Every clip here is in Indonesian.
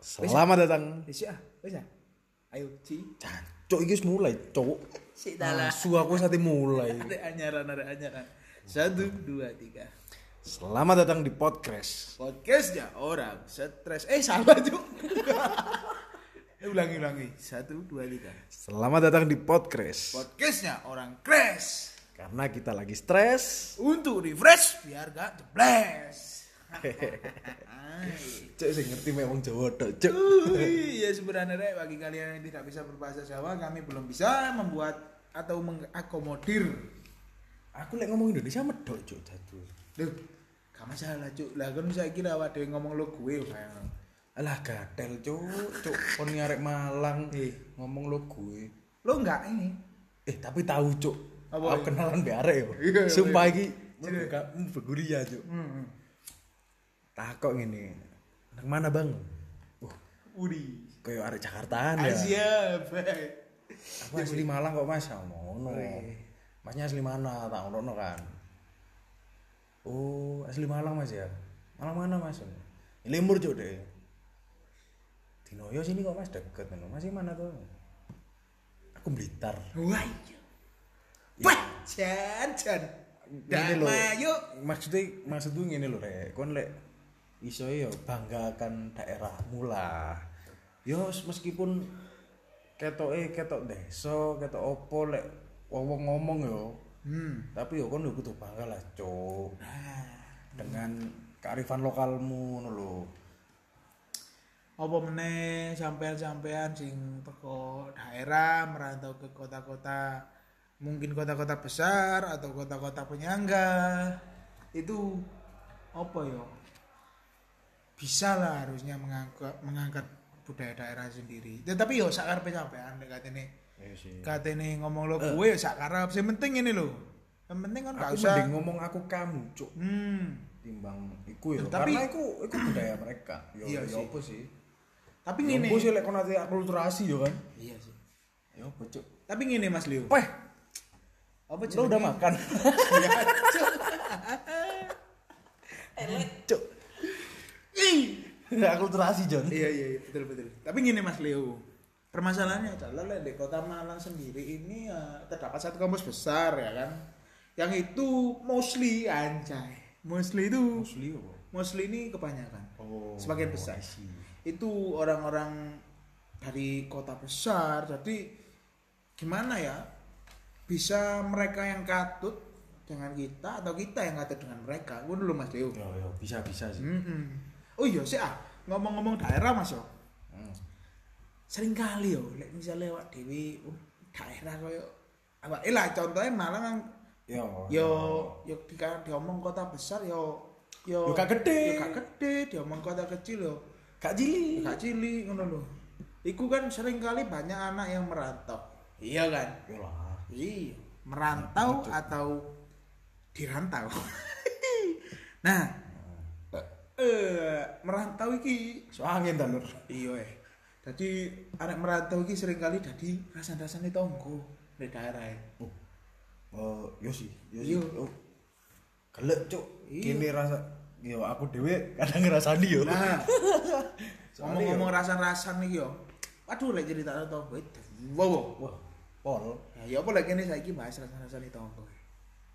Selamat datang. Wis ya, wis ya. Ayo Ci. Cok iki wis mulai, cok. Sik dalah. Su aku sate mulai. Ada anyaran, ada anyaran. Satu, dua, tiga. Selamat datang di podcast. Podcastnya orang stres. Eh salah cuk. Eh, ulangi ulangi. Satu, dua, tiga. Selamat datang di podcast. Podcastnya orang crash. Karena kita lagi stres. Untuk refresh biar gak jebles. Cok sing ngerti memang Jawa tok, cok. Ui, ya sebenarnya Rek, bagi kalian yang tidak bisa berbahasa Jawa, kami belum bisa membuat atau mengakomodir. Aku lek ngomong Indonesia medok, cok dadu. Duh, gak masalah cuk. Lah kan saya kira awak dhewe ngomong lo gue bayang. Alah gatel, cok. Cok kon nyarek Malang Iya. ngomong lo gue. Lo enggak ini. Eh, tapi tahu, cok. Apa? Aku kenalan mbek arek yo. Iya, iya. Sumpah iki membuka- berguria, cok. Hmm. ya, Takok ngene. Nang mana, Bang? Wah, Uri. koyo arek Jakartaan Iya. ya. Asia. Aku asli Malang kok Mas, Ya ngono. Masnya asli mana? Tak ngono kan. Oh, asli Malang Mas ya. Malang mana Mas? Lemur cuk deh. Dinoyo sini kok Mas deket ngono. Masih mana tuh? Aku Blitar. Wah. iya. Wah, jan jan. Ngene lho. Damayo. Maksudnya maksudku ngene lho, Rek. Kon lek iso ya banggakan daerahmu lah. Yo meskipun ketoke ketok desa, ketok opo lek wong ngomong yo. Hmm. Tapi yo kon yo kudu bangga lah, Cuk. Nah. Dengan kearifan lokalmu ngono lho. Apa meneh sampean-sampean sing teko daerah merantau ke kota-kota mungkin kota-kota besar atau kota-kota penyangga itu apa yo bisa lah harusnya mengangkat mengangkat budaya daerah sendiri Ya, tetapi yo sakar sampean nek katene Iya sih. katene ngomong lo gue ya sak karep sing penting ini lo yang penting kan gak Eh. Aku usah mending ngomong aku kamu, Cuk. hmm Timbang iku yo. Tapi- Karena iku iku budaya mereka. Yo Iya yo sih. opo sih? tapi Yo ngene opo sih lek kon ati akulturasi yo kan. iya sih Yo opo, Cuk. tapi ngene Mas Leo Weh, apa lo udah makan? Cuk. Eh, Aku terasi, Jon. iya iya iya, betul betul tapi ngene Mas Leo permasalahannya adalah lah, di kota Malang sendiri ini ya, terdapat satu kampus besar ya kan yang itu mostly anjay mostly itu Musli apa? mostly ini kebanyakan Oh, sebagian besar itu orang-orang dari kota besar jadi gimana ya bisa mereka yang katut dengan kita atau kita yang katut dengan mereka gue dulu mas Leo Yo yo bisa bisa sih. Mm-mm. oh iya sih ah ngomong-ngomong daerah mas yo Hmm. sering kali yo lek misalnya lewat dewi oh, daerah koyo apa eh lah contohnya Malang kan Yo. yo yo di diomong kota besar yo Yo yo gak gede. yo gak gede diomong kota kecil yo Kak Jili. Kak cilik ngono lho. Iku kan sering kali banyak anak yang merantau. Iya kan? Yo lah. Iya, merantau atau dirantau. nah, eh merantau iki So angin ta, Lur. iya eh. Jadi anak merantau iki sering kali dadi rasan-rasane tonggo di daerah e. Oh. Eh, yo sih, yo sih. Yo. Yo. Gelek, Cuk. Iya. Gini rasa yo aku dhewe kadang ngerasani yo. Nah, Soalnya ngomong-ngomong rasan-rasan iki yo. Waduh lek cerita tonggo itu. Wow. Wah, pol. Ya apa lagi ini saiki bahas rasan-rasane tonggo.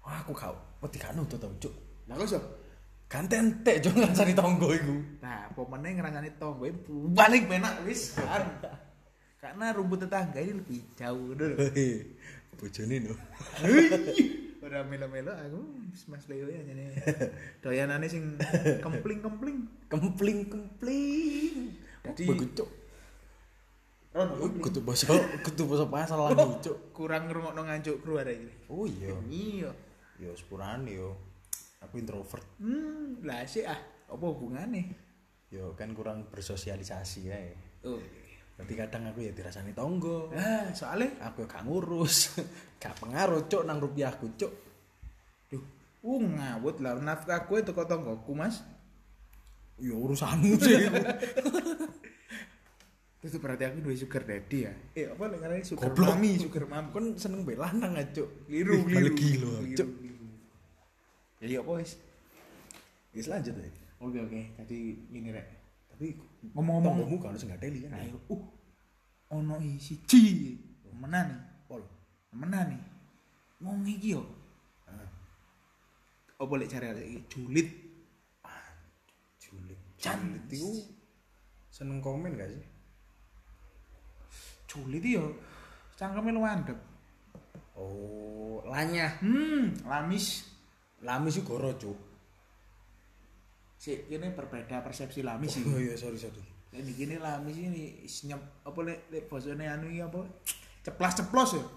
Wah, aku kau petikanu tuh tau, Cuk. Lah kok sob? Ganten tek, Cuk, ngerasani tonggo iku. Nah, pemenang ngerangkani tonggo ini balik benak wis kan. Karena rumput tetangga ini lebih jauh dulu. Hei, bojone no. Udah melo-melo aku Mas Leo ya jadi doyanane sing kempling-kempling. Kempling kempling. Jadi Jadi- begitu. Ron, Kutu basa, kutu basa pasal lagi, Cuk. kurang ngrungokno ngancuk kru arek iki. Oh iya. Iya. Yo sepurane yo. Aku introvert. Hmm, lah sih ah, apa hubungane? Yo kan kurang bersosialisasi ya. Oh. Berarti kadang aku ya dirasani tonggo. Ah, soalnya Aku gak ngurus. Gak pengaruh, Cuk, nang rupiahku, Cuk. duh, uh ngawut lah nafkah gue teko tonggoku, Mas. Yo urusanmu sih. iku. Terus berarti aku duwe sugar daddy ya. Eh, apa lek ngarani sugar Goblok. mami, sugar mami. Kon seneng mbek lanang, ah, Cuk. Ih, Liru, balik liru. gilo, Liru, Cuk. liru. Ya iya apa wis? Wis lanjut ya. Oke oke, tadi ini rek. Tapi Ngomong-ngomong- tonggomu kan sing gateli kan. ayo uh ono isi ci menan nih Pol. menan nih wong iki yo Ah, apa lek cari iki julid julid. Jan. Julid iku seneng komen gak sih? julid iki yo cangkeme lu andep Oh, lanyah. hmm lamis Lamis iku goro, Cuk. sik kene berbeda persepsi lamis Oh iki iya, sorry sorry. lek di kene lamis ini is nyep apa lek lek bosone anu iki apa ceplas ceplos ya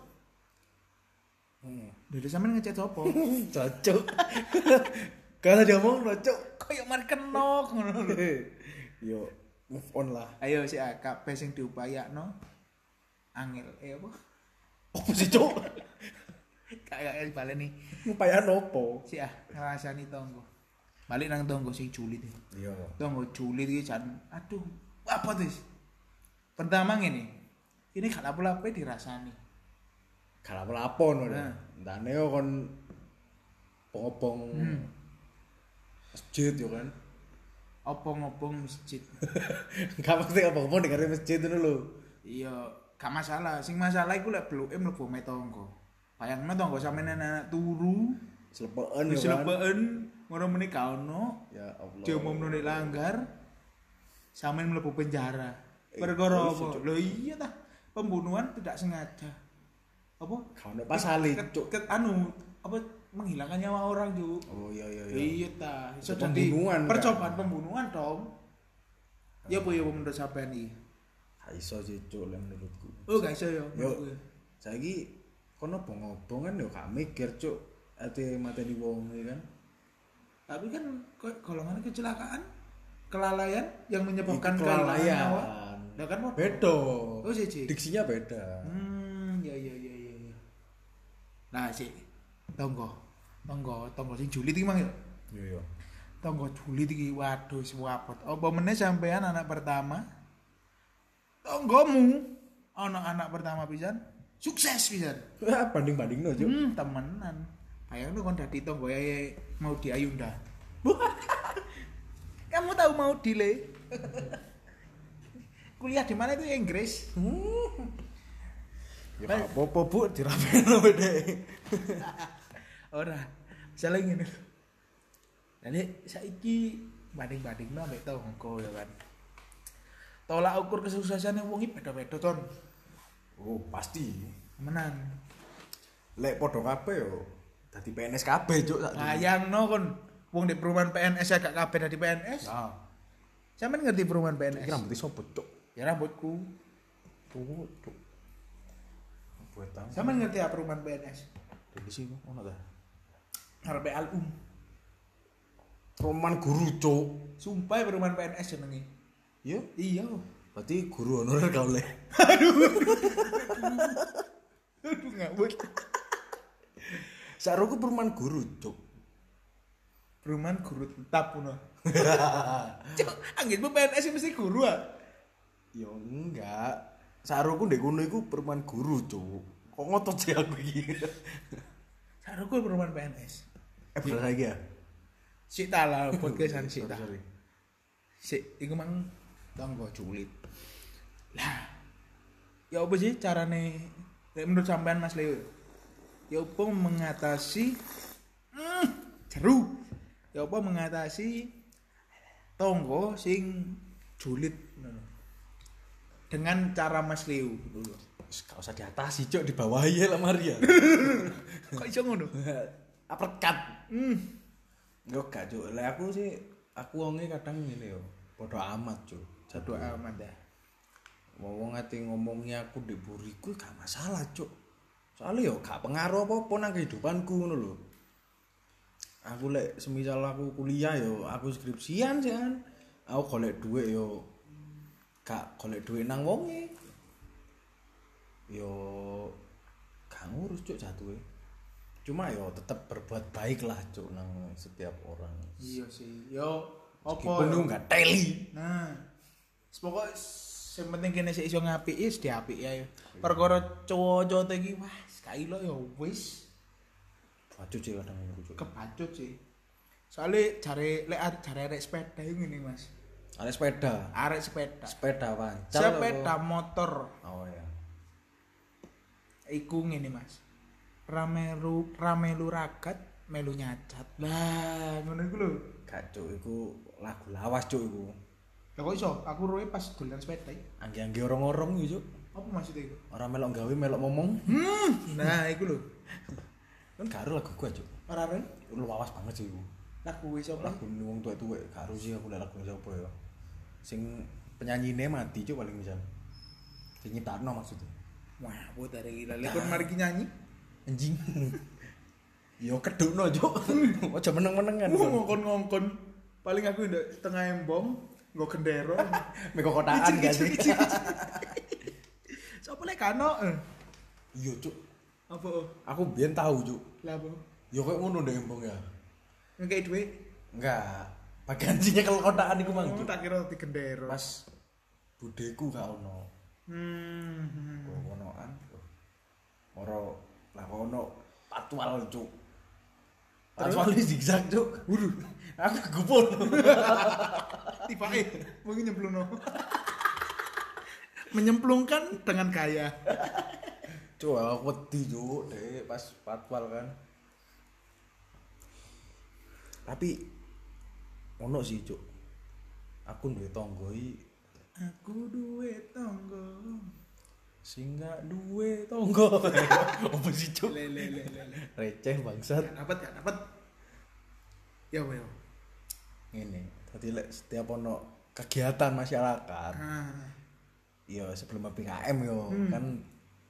Hmm. dari sampean ngecat apa Cocok. Kalau dia mau cocok. koyo markenok ngono lho Yo, move on lah. ayo sik ah, kabeh sing diupayakno angel eh apa Apa sih, Cuk? kayak baleni Ngupayan opo? sih ah ngerasani tonggo balik nang tonggo sing julid ya. Yo. tonggo julid iki jan aduh apa tuh pertama ngene ini gak lapo-lapo dirasani Kalau melapon wae. Nah. Ndane yo kon popong masjid yo kan. opong-opong masjid Gak mesti apa-apa dengerin masjid itu dulu. iya gak masalah sing masalah iku lek beluke mlebu me tonggo bayangno tonggo sampeyan anak turu Selepean wis ya kan. lepeen ngono meneh gak ono Ya Allah. diumumno nek langgar sampean mlebu penjara perkara Eh, apa sejuk. lho iya ta pembunuhan tidak sengaja apa Kau pasali, e, Ket- Cuk. ket- anu apa menghilangkan nyawa orang Cuk Oh iya iya iya. iya ta iso Itu jadi pembunuhan, kan? percobaan pembunuhan dong ya apa ya apa menurut sampean iki Gak iso sih Cuk lek menurutku. oh gak iso ya Yo. menurut gue. Saiki kono bongobong kan yo gak mikir Cuk. Ate mateni wong ya kan. tapi kan ko- golongan kecelakaan kelalaian yang menyebabkan Itu kehilangan kelalaian. nyawa. Nah kan mau Beda. Oh, siji. Diksinya beda. Hmm, ya ya ya ya. ya. Nah, sik. Tonggo. Tonggo, tonggo sing julid iki mang ya. Yo yo. Tonggo julid iki waduh wis wabot. Apa meneh sampean anak pertama? Tonggomu ana anak pertama pisan sukses pisan. Banding-bandingno Cuk. Hmm, temenan. Bayangno kon dadi tonggo yae mau di Ayunda. Kamu tahu mau dile? Kuliah di mana itu Inggris? Ya gak apa-apa Bu dirapeno deh. Ora. Misalnya ngene. lho. Jadi saiki banding-banding no ambek tonggo ya kan. Tolak ukur kesuksesannya wong iki beda-beda ton. Oh, pasti. Menan. Lek podo kabeh yo dadi PNS kabeh Cuk sak durunge. Bayangno kon wong di perumahan PNS ya gak kabeh dari PNS. Nah, Sampeyan ngerti perumahan PNS? iki rambut iso Cuk. Ya rambutku. Tuh, Oh, Cuk. Buatan. Sampeyan ngerti apa perumahan PNS? Di sini ono ta? Harpe alum. Roman guru cuk. Sumpah ya perumahan PNS jenenge. Iya. Iya. Berarti guru honorer gak oleh. Aduh ngawur. Saruku perumahan guru cuk. Perumahan guru tetap puno. Cuk, anggitmu PNS yang mesti guru ah. Ya enggak. Saruku ndek kono iku perumahan guru cuk. Kok ngotot sih aku iki. Saru gue perumahan PNS. eh bener lagi ya. Sik ta lah podcastan sik Sorry, ta. sorry. Sik iku mang tonggo julid. Lah. Ya apa sih carane Lek menurut sampean Mas Leo? Ya apa mengatasi hmm, jeru. Ya apa mengatasi tonggo sing julid ngono. dengan cara Mas Leo. gitu Wis gak usah diatasi cuk, di bawah ya lah Maria. Kok iso ngono? Uppercut. Hmm. Yo gak cuk. Lah aku sih aku wonge kadang ngene yo. Podo amat cuk. Satu amat ya. Wong ati ngomongnya aku di buriku gak masalah, Cuk. Soalnya yo gak pengaruh apa-apa nang kehidupanku ngono lho. Aku lek semisal aku kuliah yo aku skripsian sih kan. Aku golek duit yo gak golek duit nang wonge. Yo gak ngurus Cuk jatuhe. Cuma yo tetap berbuat baik lah Cuk nang setiap orang. Iya sih. Yo apa? ya? Meskipun yo gak teli. Nah, pokok yang penting kene sik iso ngapiki wis diapiki ae. Perkara cowok-cowok iki wah, kailo ya wis Waduh sih kadang aku Cuk. kebacut sih. soalnya cari lek arek cari arek sepeda ini mas Ada sepeda. arek sepeda Sepeda wancal. apa? sepeda motor Oh ya. iku ngene mas ramelu ramelu ragat melu nyacat lah ngono iku lho Gak cuk iku lagu lawas cuk iku. ya kok iso aku roe pas dolan sepeda iki. Anggi-anggi orang-orang iki cuk. apa maksudnya iku Orang melok gawe melok ngomong. hmm nah iku lho Kan gak aru lagu gua cuk. ora ren Lu lawas banget sih iku. lagu wis apa Lagu ini wong tuwek-tuwek gak aru sih aku lek lagu sapa ya. Sing penyanyine mati cuk paling misal. Sing nyiptakno maksudnya. wah buat dari gila lek kon mari ki nyanyi Anjing. Yo kedukno cuk. Aja meneng-menengan. uh ngongkon-ngongkon paling aku ndak setengah embong nggo gendero Meko kotaan gak sih? sapa lek kano Eh, Yo cuk. apa oh? Aku biyen tahu cuk. lah apa Yo kok ngono ndek embong ya. ngekei duit Enggak. Pagancinya kalau kotaan iku mang Oh, cuk. tak kira di gendero Pas budeku gak ono. hmm Kok onoan. Ora lah kok ono patwal cuk. Patwal zigzag cuk. Waduh, aku kegupon. tiba eh mungkin nyemplung no menyemplungkan dengan kaya Cuk, aku wedi cuk deh pas patwal kan. Tapi ono sih cuk. Aku duwe tangga iki aku duit tonggo sing gak duwe tangga. Apa sih cuk? le le le le le. Receh bangsat. Gak dapat gak dapat ya well ini tadi lek setiap ono kegiatan masyarakat ah ya sebelum PPKM yo Hmm. kan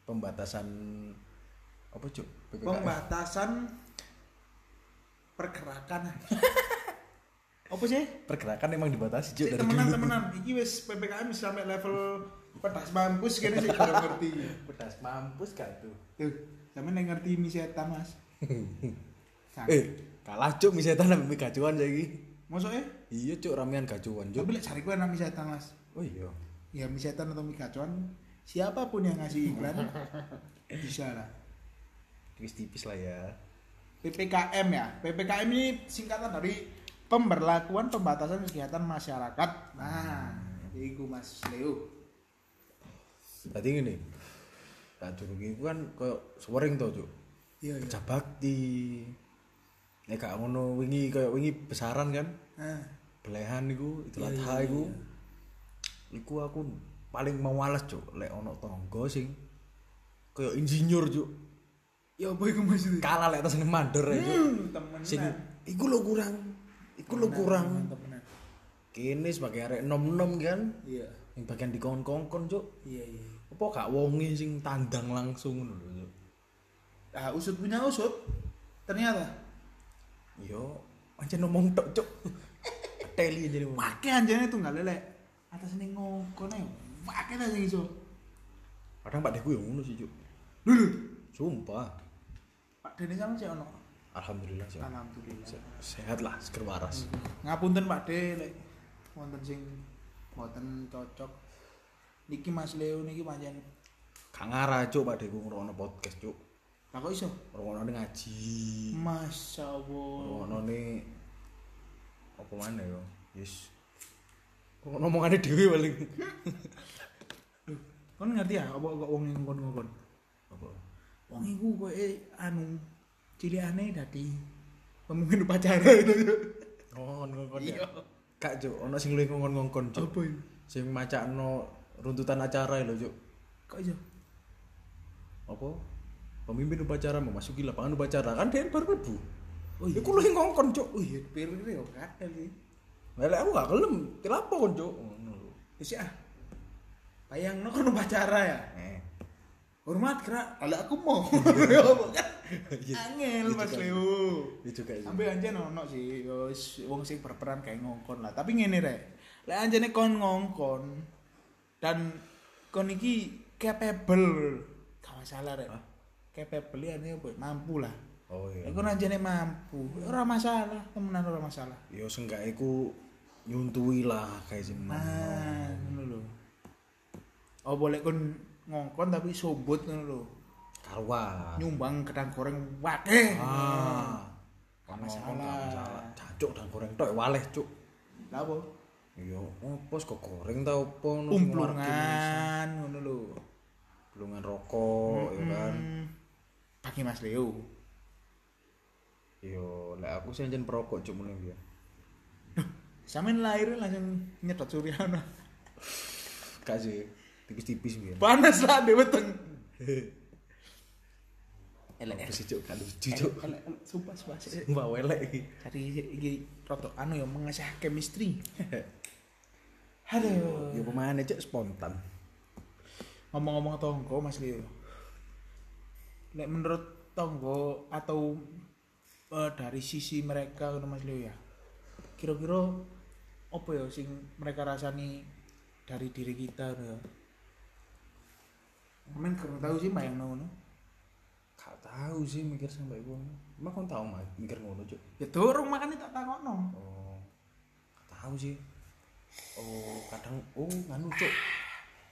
pembatasan apa cuk PPKM pembatasan pergerakan apa sih pergerakan emang dibatasi cuk Cik, dari temenan dulu temenan iki wis ppkm wis sampai level pedas mampus kene sih kurang ngerti pedas mampus gak tuh tuh sampe nek ngerti ini setan mas Nah. eh kalah cuk misalnya tanam gajuan saiki maksudnya iya cuk ramean gajuan cuk ya? tapi lek cari gue nama setan mas oh iya ya mie setan atau mie gacuan siapapun yang ngasih iklan bisa lah tipis-tipis lah ya PPKM ya PPKM ini singkatan dari pemberlakuan pembatasan kegiatan masyarakat nah itu mas Leo tadi gini tak durung iku kan koyo sering to cuk iya iya kerja bakti nek gak ngono wingi koyo wingi besaran kan nah, belehan iku idul adha iku iku aku paling mawales cuk lek ono tangga sing kaya insinyur cuk ya apa itu mas itu kalah lek tasene mandor ya cuk hmm, temenan sing iku lo kurang iku lo kurang temenan, temenan kene sebagai arek nom-nom kan iya yang bagian dikongkon-kongkon cuk iya iya apa gak wonge sing tandang langsung ngono lho cuk ah usut punya usut ternyata yo aja ngomong tok cuk teli jadi wong pakai anjane tuh nggak lelek atas ini ngokon ayo pakai aja gitu kadang pak deku yo ngono sih cuk dulu sumpah Pak Dene sama sih ono alhamdulillah sih alhamdulillah sehat lah seger waras ngapunten Pak De lek wonten sing boten cocok niki Mas Leo niki pancen Gak ngarah cuk Pak Deku ngrungokno podcast cuk. lah kok iso Ngrungokno ngaji. Masya Allah Ngrungokno apa mana yo? Yes. Kok ngomongane dhewe paling. Duh, kon ngerti ya apa kok wong ngongkon ngongkon Apa? wong iku kok anu cilikane dadi pemimpin upacara itu Ngongkon-ngongkon Iya. ya. Gak cuk, ono sing luwih ngongkon-ngongkon cuk. apa itu Sing macakno runtutan acara lho cuk. kok iso Apa? Pemimpin upacara memasuki lapangan upacara kan dia baru mlebu. Oh Oh iya. iya. Iku luwih ngongkon cuk. oh iya pirire yo kadal sih Lha aku gak gelem. Kenapa kon cuk? Ngono lho. wis ah bayangno kon upacara ya Eh. hormat gerak kalau aku mau Apa kan? Iya. angel Iya mas juga. Leo Iya juga sih. sampai anjen ono sih yo wis wong sing berperan kayak ngongkon lah tapi ngene rek lek anjene kon ngongkon dan kon iki capable gak masalah rek Hah? capable ya nih boy mampu lah Oh iya. yeah. kon anjene mampu ora masalah temenan ora masalah ya seenggaknya ku nyuntui lah kayak sing mana nah ngono lho oh boleh kon ngongkon tapi sobot ngono lho karuan nyumbang kedang goreng wakeh ah Kon ngomong gak masalah. Cacuk dan goreng tok waleh, Cuk. Lah apa? Iya, opo kok goreng ta opo ngono Umplungan ngono lho. Belungan rokok ya kan. Hmm. Pagi Mas Leo. Iya, lek aku sih anjen perokok cuk mulai biyen. Sampeyan lahir langsung nyedot anu. Suryono. Gak sih, tipis-tipis biyen. Panas lah dhewe teng. Elek sih cuk, gak lucu cuk. Elek, elek, Sumpah sumpah. sih. Mbak welek iki. Jadi iki rotok anu ya mengasah chemistry. Aduh. Ya pemane cuk spontan. Ngomong-ngomong tonggo Mas Leo. Lek menurut tonggo atau eh, dari sisi mereka ngono Mas Leo ya. Kira-kira apa ya sing mereka rasani dari diri kita ngono ya. Amin kurang tahu sih bayang ngono. Gak tahu sih mikir sampai gua. Emang kon tau Mas, mikir ngono cuk. Ya durung makane tak takokno. Oh, gak tahu sih. Oh, kadang oh nganu cuk.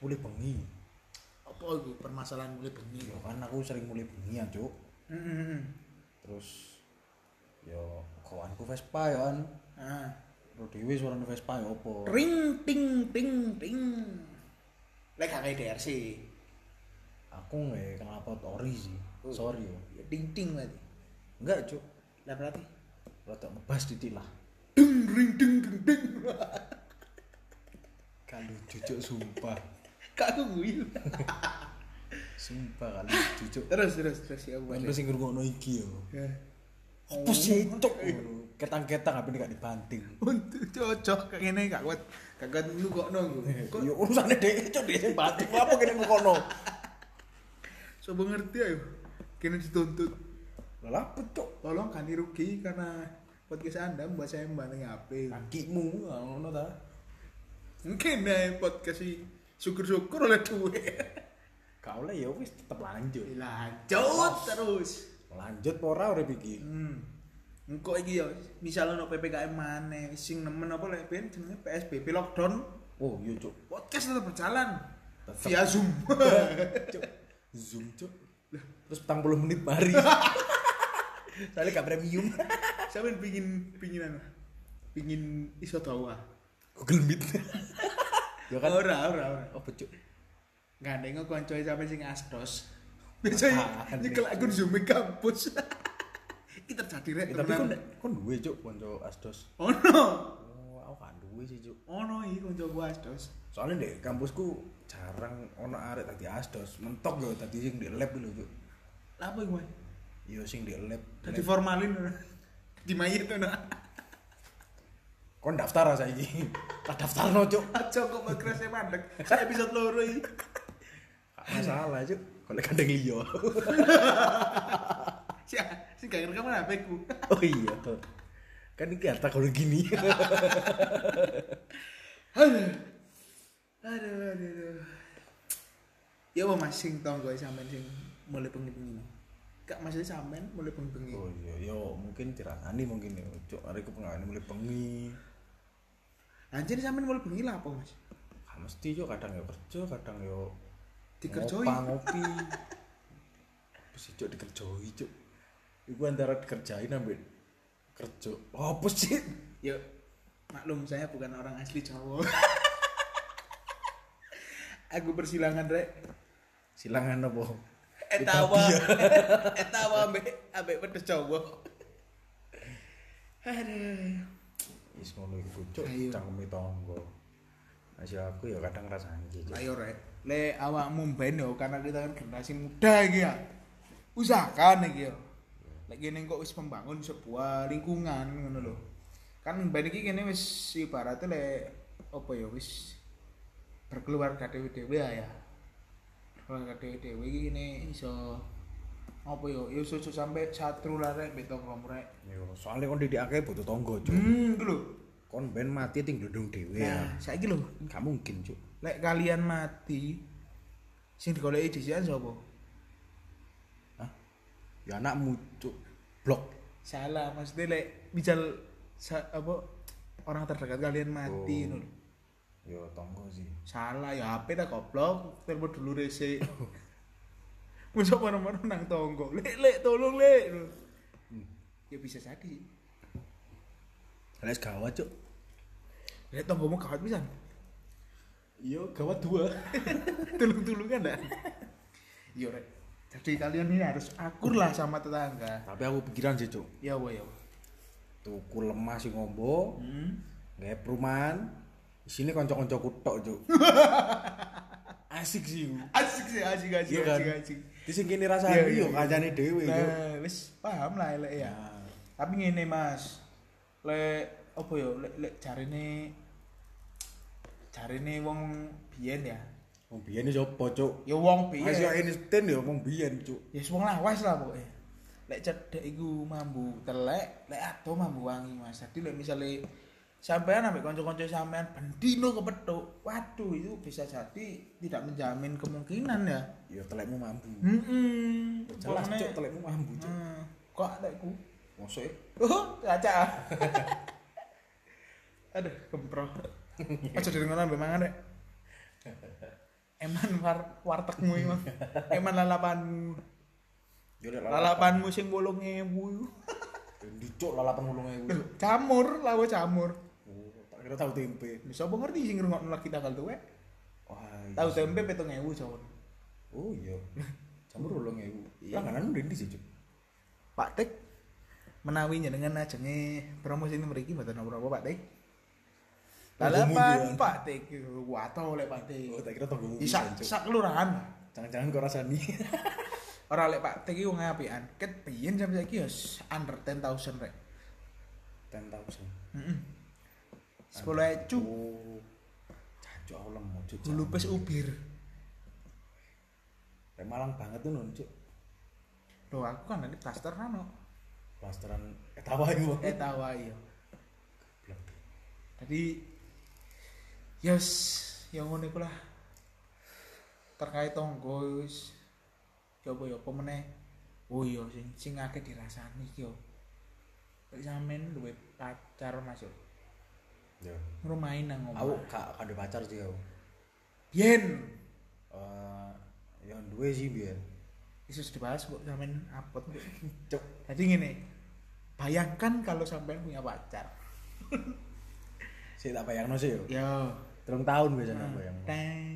Mulai bengi. Apa itu permasalahan mulai bengi? Ya kan aku sering mulai bengian cuk. Heeh. Terus yo kawanku Vespa ya kan. Heeh. Lu dhewe suarane Vespa ya opo? Ah. Ring ting ting ting. Lek gak kayak DRC. Aku nggak kenapa ori sih. Sorry ya. Ya ting ting berarti. Enggak, Cuk. Lah berarti Rada ngebas ditilah. ding ring ding ding ding. Kalau cucuk sumpah. Kak aku guyu. Sumpah kalau cucuk. terus terus terus ya buat. Sampai sing ngrungokno iki yo. Ya. Apa sih cuk? Ketang-ketang apa ini gak dibanting. Untuk cocok kayak gini gak kuat gak kuat lu kok nunggu. Kok Yo urusane dhek cuk dhek sing banting. Apa kene ngono? coba ngerti ayo. Kini dituntut. Lah apa cuk? Tolong ganti rugi karena podcast anda membuat saya membanting HP. Kakimu ngono ta? Mungkin deh podcast ini syukur-syukur oleh duit. Gak oleh ya wis tetep lanjut. Lanjut terus. Lanjut apa ora urip iki? Hmm. Engko iki ya, misalnya ono PPKM maneh, sing nemen apa lek ben jenenge PSBB lockdown, Oh, yo cuk. podcast tetap berjalan. Tetep. Via Zoom. Cuk. Zoom cuk. Terus petang puluh menit mari. Soalnya gak premium. Sampe pingin pingin anu. Pingin iso ah. dawa. Google Meet. ya kan. Ora, ora, ora. Apa cuk? Gandeng koncoe sampe sing asdos. Biasanya Apaan, nyekel akun Zoom e kampus. Iki terjadi rek. Eh, tapi kon temenan. kon duwe cuk konco Asdos. ono. Oh, aku kan duwe sih cuk. Ono iki konco gua asdos. Soalnya di kampusku jarang ono arek tadi Asdos. Mentok yo tadi sing di lab lho cuk. Lah apa iki, Mas? Yo sing di lab. Dadi formalin ora. Di mayit ono. Kon daftar ra saiki. Tak daftarno cuk. Aja kok podcastnya mandek. Saya episode loro iki. Gak Masalah cuk. Kalau kandeng liya. Sih, sih gak ngerekam HP ku. Oh iya tuh. Kan iki harta kalau gini. Aduh. Aduh, aduh, aduh. Ya apa Mas sing tonggo sampean sing mulai bengi-bengi. Gak maksudnya sampean mulai bengi-bengi. Oh iya, yo mungkin dirasani mungkin ya. Cuk, hari ku pengawen mulai bengi. Anjir sampean mulai bengi lah apa Mas? Gak mesti yo kadang yo kerja, kadang yo Dikerjoi. ngopah, ngopi. Apa sih cuk dikerjoi cuk. Iku antara dikerjain ambil kerja. Apa sih? Ya maklum saya bukan orang asli Jawa. Aku bersilangan rek. Silangan apa? Etawa. Etawa ambek ambek pedes Jawa. Aduh. Wis ngono iku cuk, Ayo. cangkeme tangga. Masih aku ya kadang ngrasani iki. Cuk. Ayo rek, le awakmu ben yo karena kita kan generasi muda iki ya. Usahakan iki yo. Lek kene kok wis membangun sebuah lingkungan ngono lho. Kan ben iki kene wis ibaratnya le apa ya wis berkeluarga dhewe-dhewe ya. ya. Berkeluarga dhewe-dhewe iki kene iso apa yo yo iso sampe satru lah rek beto rek. Yo, soalnya kon didikake butuh tangga cuk. Hmm, iku lho. Kon ben mati ting glundung dhewe ya. Nah, saiki lho, Gak mungkin cuk. lek kalian mati sing digoleki dhisikan sapa? Hah? Ya anakmu cuk. Blok. salah maksudnya lek misal sa- apa orang terdekat kalian mati Oh. nul Yo tangga sih. salah ya HP tak goblok telepon dulu rese masa mana mana nang tonggo lek lek tolong lek nul. ya ya bisa jadi sih Lek gawat, Cuk. Lek tonggomu gawat pisan. Yo, gawat dua. Tulung-tulungan dah. Yo rek. Jadi kalian ini harus akur lah sama tetangga. Tapi aku pikiran sih, Cuk. Ya wa ya. wa. Tuku lemah sing ngombo, Hmm. gawe perumahan. Isine kanca-kancaku tok, Cuk. Asik sih. iku. Asik sih, asik asik Iya kan? asik asik. Di sing kene rasane Iya, iya, yo kancane dhewe, Cuk. Nah, wis paham lah elek ya. Nah, Tapi ngene Mas. Lek apa yo lek lek jarine jarine wong biyen ya. Wong biyen iki sapa, Cuk? Ya wong biyen. Mas yo Einstein yo wong biyen, Cuk. ya wong lawas lah pokoknya lek cedek iku mambu telek lek ado mambu wangi mas jadi lek misalnya sampean ambek kanca-kanca sampean bendino kepethuk waduh itu bisa jadi tidak menjamin kemungkinan ya Yo telekmu mambu. heeh Jelas, Cuk, telekmu mambu, Cuk. hmm, kok tekku Mosok e oh kaca aduh kemproh aja dengeran ambek mangan rek Eman war wartegmu emang. Eman lalapanmu. Yo lek lalapan musim bolong ngewu Dicuk lalapan ulunge iku. camur lawa camur Oh, tak kira tahu tempe. bisa apa ngerti sing ngrungokno lagi tanggal tuwe Wah. iya. tahu tempe petung ngewu jauh Oh iya. Jamur ulung iku. Langganan ndi sih, Cuk? Pak Tek menawi jenengan ajenge promosi ini mriki mboten apa-apa Pak Tek lalapan Tunggu Pak Tek wato oleh Pak Tek ya. Oh, tak kira tonggo. Ih, sak sak kelurahan Jangan-jangan kau rasani. ora lek Pak Tek iki wong apian ket piyen sampe saiki ya s- under 10000 rek Ten thousand. heeh 10 ecu Oh. Cacuk aku lemot, Cuk. lupes uh. ubir Kayak Malang banget tuh nun, Cuk. lho aku kan nanti plaster rano Plasteran etawa iku. eh tawa iya tadi yos yang ya ngono iku lah terkait tonggo wis ya apa ya apa meneh oh iya sing sing akeh dirasani iki yo lek sampean duwe pacar Mas yo Ya. ngrumahi nang Aku omah gak kado pacar sih aku. yen Eh, yang dua sih biar. isus dibahas kok sampean apot kok Cuk. jadi ngene bayangkan kalau sampean punya pacar Sik tak bayangno sih yo. yo Telung tahun biasanya aku bayang. Teng,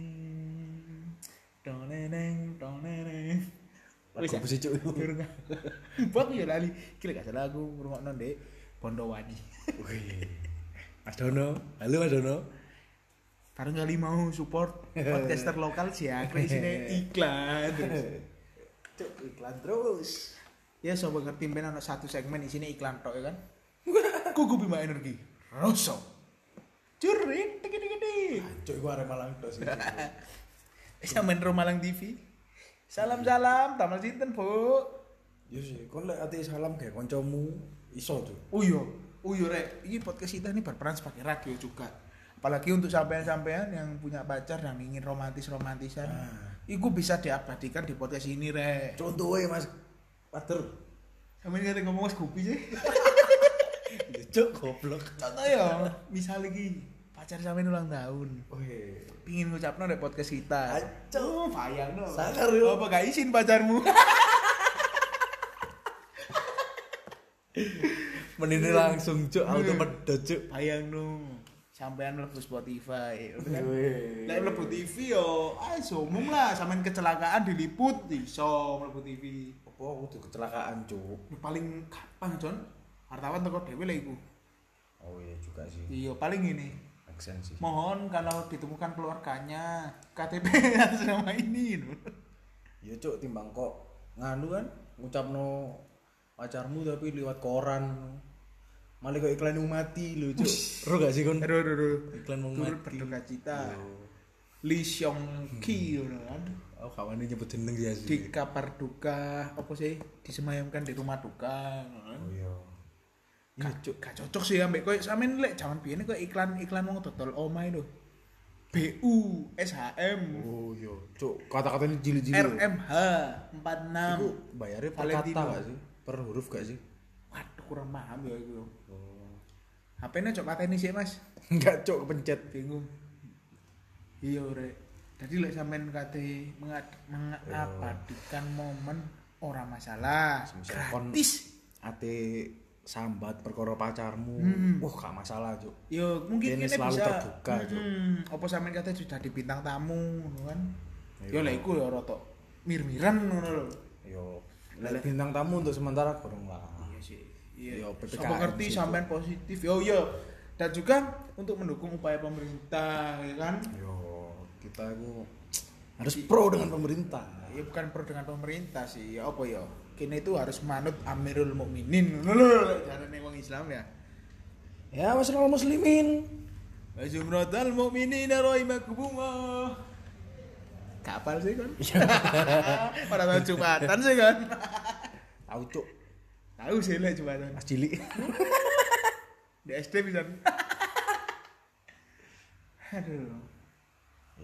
dong neneng, dong neneng. Wis Lagu ya? besi Cuk. Durung. Mbok ya lali. Kira gak salah aku ngrungokno Ndek Pondowani. Wih. Mas Dono. Halo Mas Dono. Bareng kali mau support podcaster lokal sih ya, isine iklan terus. Cuk, iklan terus. Ya sobat ngerti ben ana satu segmen isine iklan tok ya kan. Kuku Bima Energi. Rosso. Curit tiki tiki tiki. Cuk, iku arek Malang tok sih. Sampeyan Romalang TV. Salam-salam, tamal sinten, Bu? Yo sih, kon lek ati salam kayak kancamu iso Cuk. Uyo, uyo rek. Ini podcast kita ini berperan sebagai radio juga. Apalagi untuk sampean-sampean yang punya pacar dan ingin romantis-romantisan. Ah. Iku bisa diabadikan di podcast ini rek. Contohe Mas Pater. Kamu ini ada ngomong mas Gupi sih. Cuk, goblok. Contoh ya, misal lagi pacar sampean ulang tahun. Oke. Oh, Pingin ngucapno rek podcast kita. Acau, bayang no. Sangar, yo. Apa gak izin pacarmu? Menini langsung Cuk, Iya. auto medot Cuk. bayang no. Sampean mlebu Spotify. Kan? Wih. Lek mlebu TV yo, ayo umum lah, sampean kecelakaan diliput iso mlebu TV. Apa aku tuh kecelakaan Cuk? Lu paling gampang, Jon. Wartawan teko dhewe lah iku. Oh iya juga sih. Iya, paling ini. Make sense sih. Mohon kalau ditemukan keluarganya KTP atas nama ini. lho. Ya cuk timbang kok nganu kan ngucapno pacarmu tapi liwat koran. Malah kok iklan yang mati lho cuk. Ro gak sih kon? Aduh, aduh, aduh. Iklan mau Turut mati. berduka cita. Yo. Lee Seong Ki, lho, aduh. Aku kawannya Oh, nyebut jeneng sih asli. di kabar duka apa sih disemayamkan di rumah duka Oh iya. Iya, cuk, gak cocok sih ambek koyo sampean lek jaman biyen kok iklan-iklan wong dodol omahe lho. BU, SHM, Oh iya. Cuk, kata-kata ini jili-jili. lho. RMH Oh, iya. Iku 46. bayarnya per kata Valentino. gak sih? Per huruf gak sih? Waduh, kurang paham ya Oh. iku. HP-ne cok pateni sih, Mas. Enggak cuk kepencet. Bingung. Iya, Rek. Jadi lek sampean kate mengad- mengabadikan momen ora masalah. Semisal Oh. kon- Gratis. Ate sambat perkara pacarmu wah gak masalah cuk Yo mungkin Ini kene selalu bisa. terbuka, Cuk. Hmm, apa sampean kate sudah di bintang tamu ngono kan. Yo lek iku yo rotok mir-miran ngono lho. yo lek bintang tamu untuk sementara kurang lah Iya sih. Ah. Yo, Iya. PPKM Apa ngerti sih, sampean positif? Yo yo. Dan juga untuk mendukung upaya pemerintah ya kan. yo kita itu harus pro dengan pemerintah Ya bukan pro dengan pemerintah sih. Ya apa ya? Kene itu harus manut Amirul Mukminin ngono lho lek jarane wong Islam ya. ya masyarakat muslimin Wa jumratal mukminina rahimakumullah. Kapal sih kan. Pada tahu jumatan sih kan. tahu cuk Tahu sih lah jumatan. mas cilik Di SD bisa. Aduh.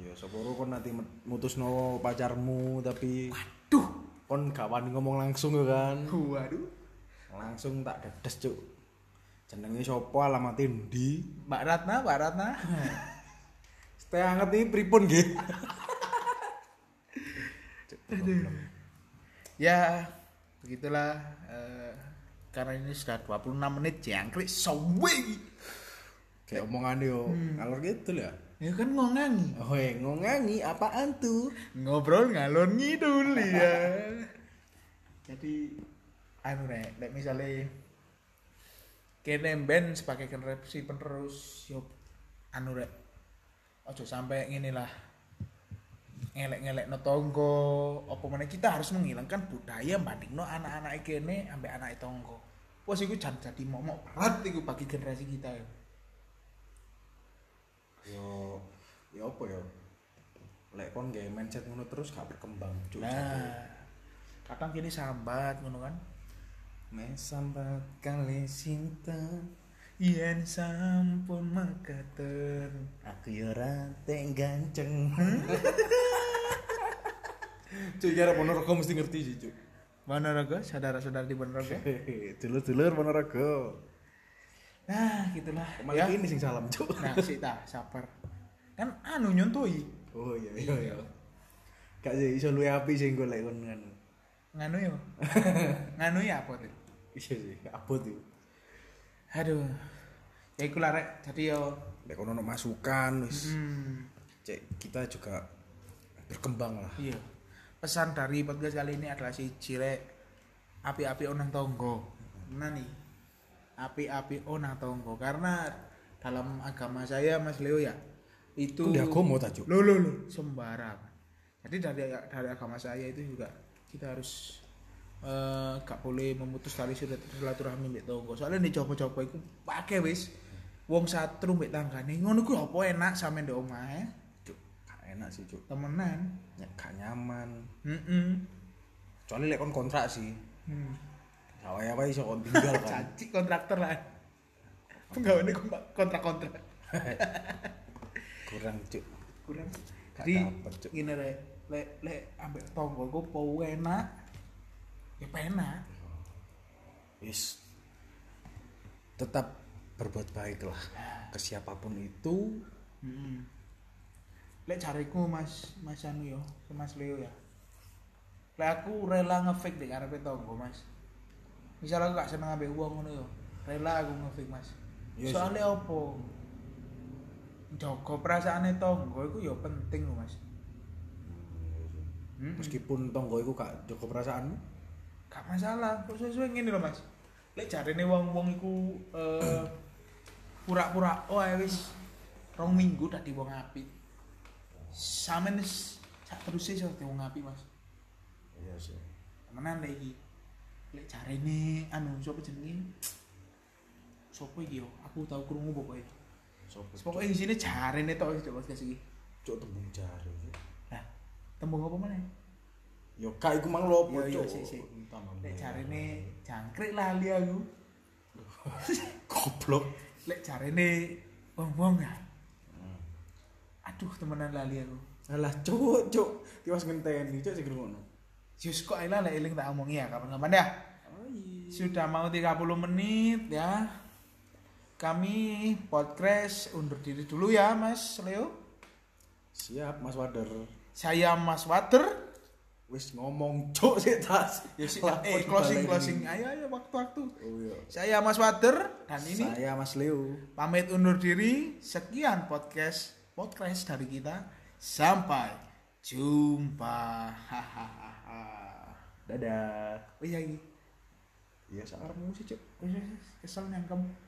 Iya, sepuro kon nanti mutusno pacarmu tapi Duh. kon gak wani ngomong langsung ya kan. Waduh. Langsung tak dedes, Cuk. Jenenge sapa, alamate ndi? Mbak Ratna, Mbak Ratna. Stay anget iki pripun nggih? Cuk, problem. ya, begitulah. eh, karena ini sudah 26 menit jangkrik sowe. Kayak omongan yo ngalor gitu ya. Ya kan ngongangi. Hoi, ngongangi Oh, iya, apaan tuh? ngobrol ngalor ngidul ya jadi anu rek nek misale kene ben sebagai generasi penerus yo anu rek ojo sampai ngene lah ngelek-ngelek no tonggo apa mana kita harus menghilangkan budaya banding no anak-anak kene ambek anak tonggo wes iku jan jadi momok berat iku bagi generasi kita ya Yo, yo apa yo? Lek kon nggak mindset ngono terus gak berkembang, Cuk. nah kadang kini sambat ngono kan Mesambat kali cinta Yen sampun mekaten. Aku yo ora tek ganceng. cuy, ya Ponorogo mesti ngerti sih, cuy. Ponorogo, saudara-saudara di Ponorogo. Dulur-dulur Ponorogo. Nah, gitulah Malah ya. ini sing salam, cuy. Nah, sik ta, sabar. Kan anu nyontoi. Oh iya iya iya. Gak sih iso luwe api sing golek kon kan. Nganu yo. Nganu ya apa tuh? Iya sih, abot yo. Aduh. Ya iku lah rek, jadi yo Lek kono ono masukan wis. hmm, Cek kita juga berkembang lah. iya. Pesan dari podcast kali ini adalah si Cirek api-api onang tonggo. Nah nih. Api-api onang tonggo karena dalam agama saya Mas Leo ya itu Itu dia agama ta, cuy. lo lo lo sembarang jadi dari dari agama saya itu juga kita harus eh gak boleh memutus tali silat- silaturahmi mbek tonggo soalnya dicoba-coba iku pakai wis wong satru mbek tanggane ngono ku apa enak sampe ndek omahe Cuk, gak enak sih, cuy. temenan Gak nyaman. heeh Kecuali lek kon kontrak sih. hmm. Sawaya wae iso kon tinggal kan. caci kontraktor lah penggawane kon- kontrak-kontrak Kurang, cuy. kurang Gak jadi dapet, Cuk. gini rek lek lek ambek tonggo ku pau enak ya penak Yes. Tetap berbuat baik lah ke siapapun itu. Hmm. Lek cariku Mas Mas Anu yo, Mas Leo ya. Lek aku rela ngefake dek arepe tonggo Mas. Misal aku gak seneng ambek wong ngono yo, rela aku ngefake Mas. Iya sih. Soalnya opo? Jaga perasaane tonggo iku yo penting lho Mas. Hmm. Mm-mm. Meskipun tonggo iku gak cukup perasaanmu. Gak masalah, kok sesuai ngene lho Mas. Lek jarene wong-wong iku eh pura-pura oh ae wis rong minggu dadi wong apik. Sampeyan wis sak teruse iso dadi wong apik Mas. Iya sih. Temenan lek iki. Lek jarene anu sapa jenenge? Sopo iki yo? Aku tau krungu pokoke. Sopo Pokoke isine jarene tok wis Mas guys iki. cuk tembung jari. Nah, tembung apa meneh? Yo kak iku mang lopo Yo, yo, cuk. sik, sik. Tambah Lek merah. jarene jangkrik lali aku. goblok. lek jarene wong-wong ya. Aduh temenan lali aku. Alah cuk cuk tiwas ngenteni cuk sing ngono. Jus kok ayolah lek eling tak omongi ya kapan-kapan ya. Oh iya. Sudah mau 30 menit ya. Kami podcast undur diri dulu ya Mas Leo. Siap Mas Wader. Saya Mas Water. wis ngomong cuk sih tas. Ya sih, Lah, eh, kok closing dibalik closing. ini. Ayo ayo waktu-waktu. Oh iya. Saya Mas Wader dan ini Saya Mas Leo. pamit undur diri. Sekian podcast podcast dari kita. Sampai jumpa. Hahaha. Dadah. oh iya, iya. Iya, sangarmu sih cuk. Wis, wis, wis. kesel nang kamu.